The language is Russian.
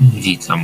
индийцам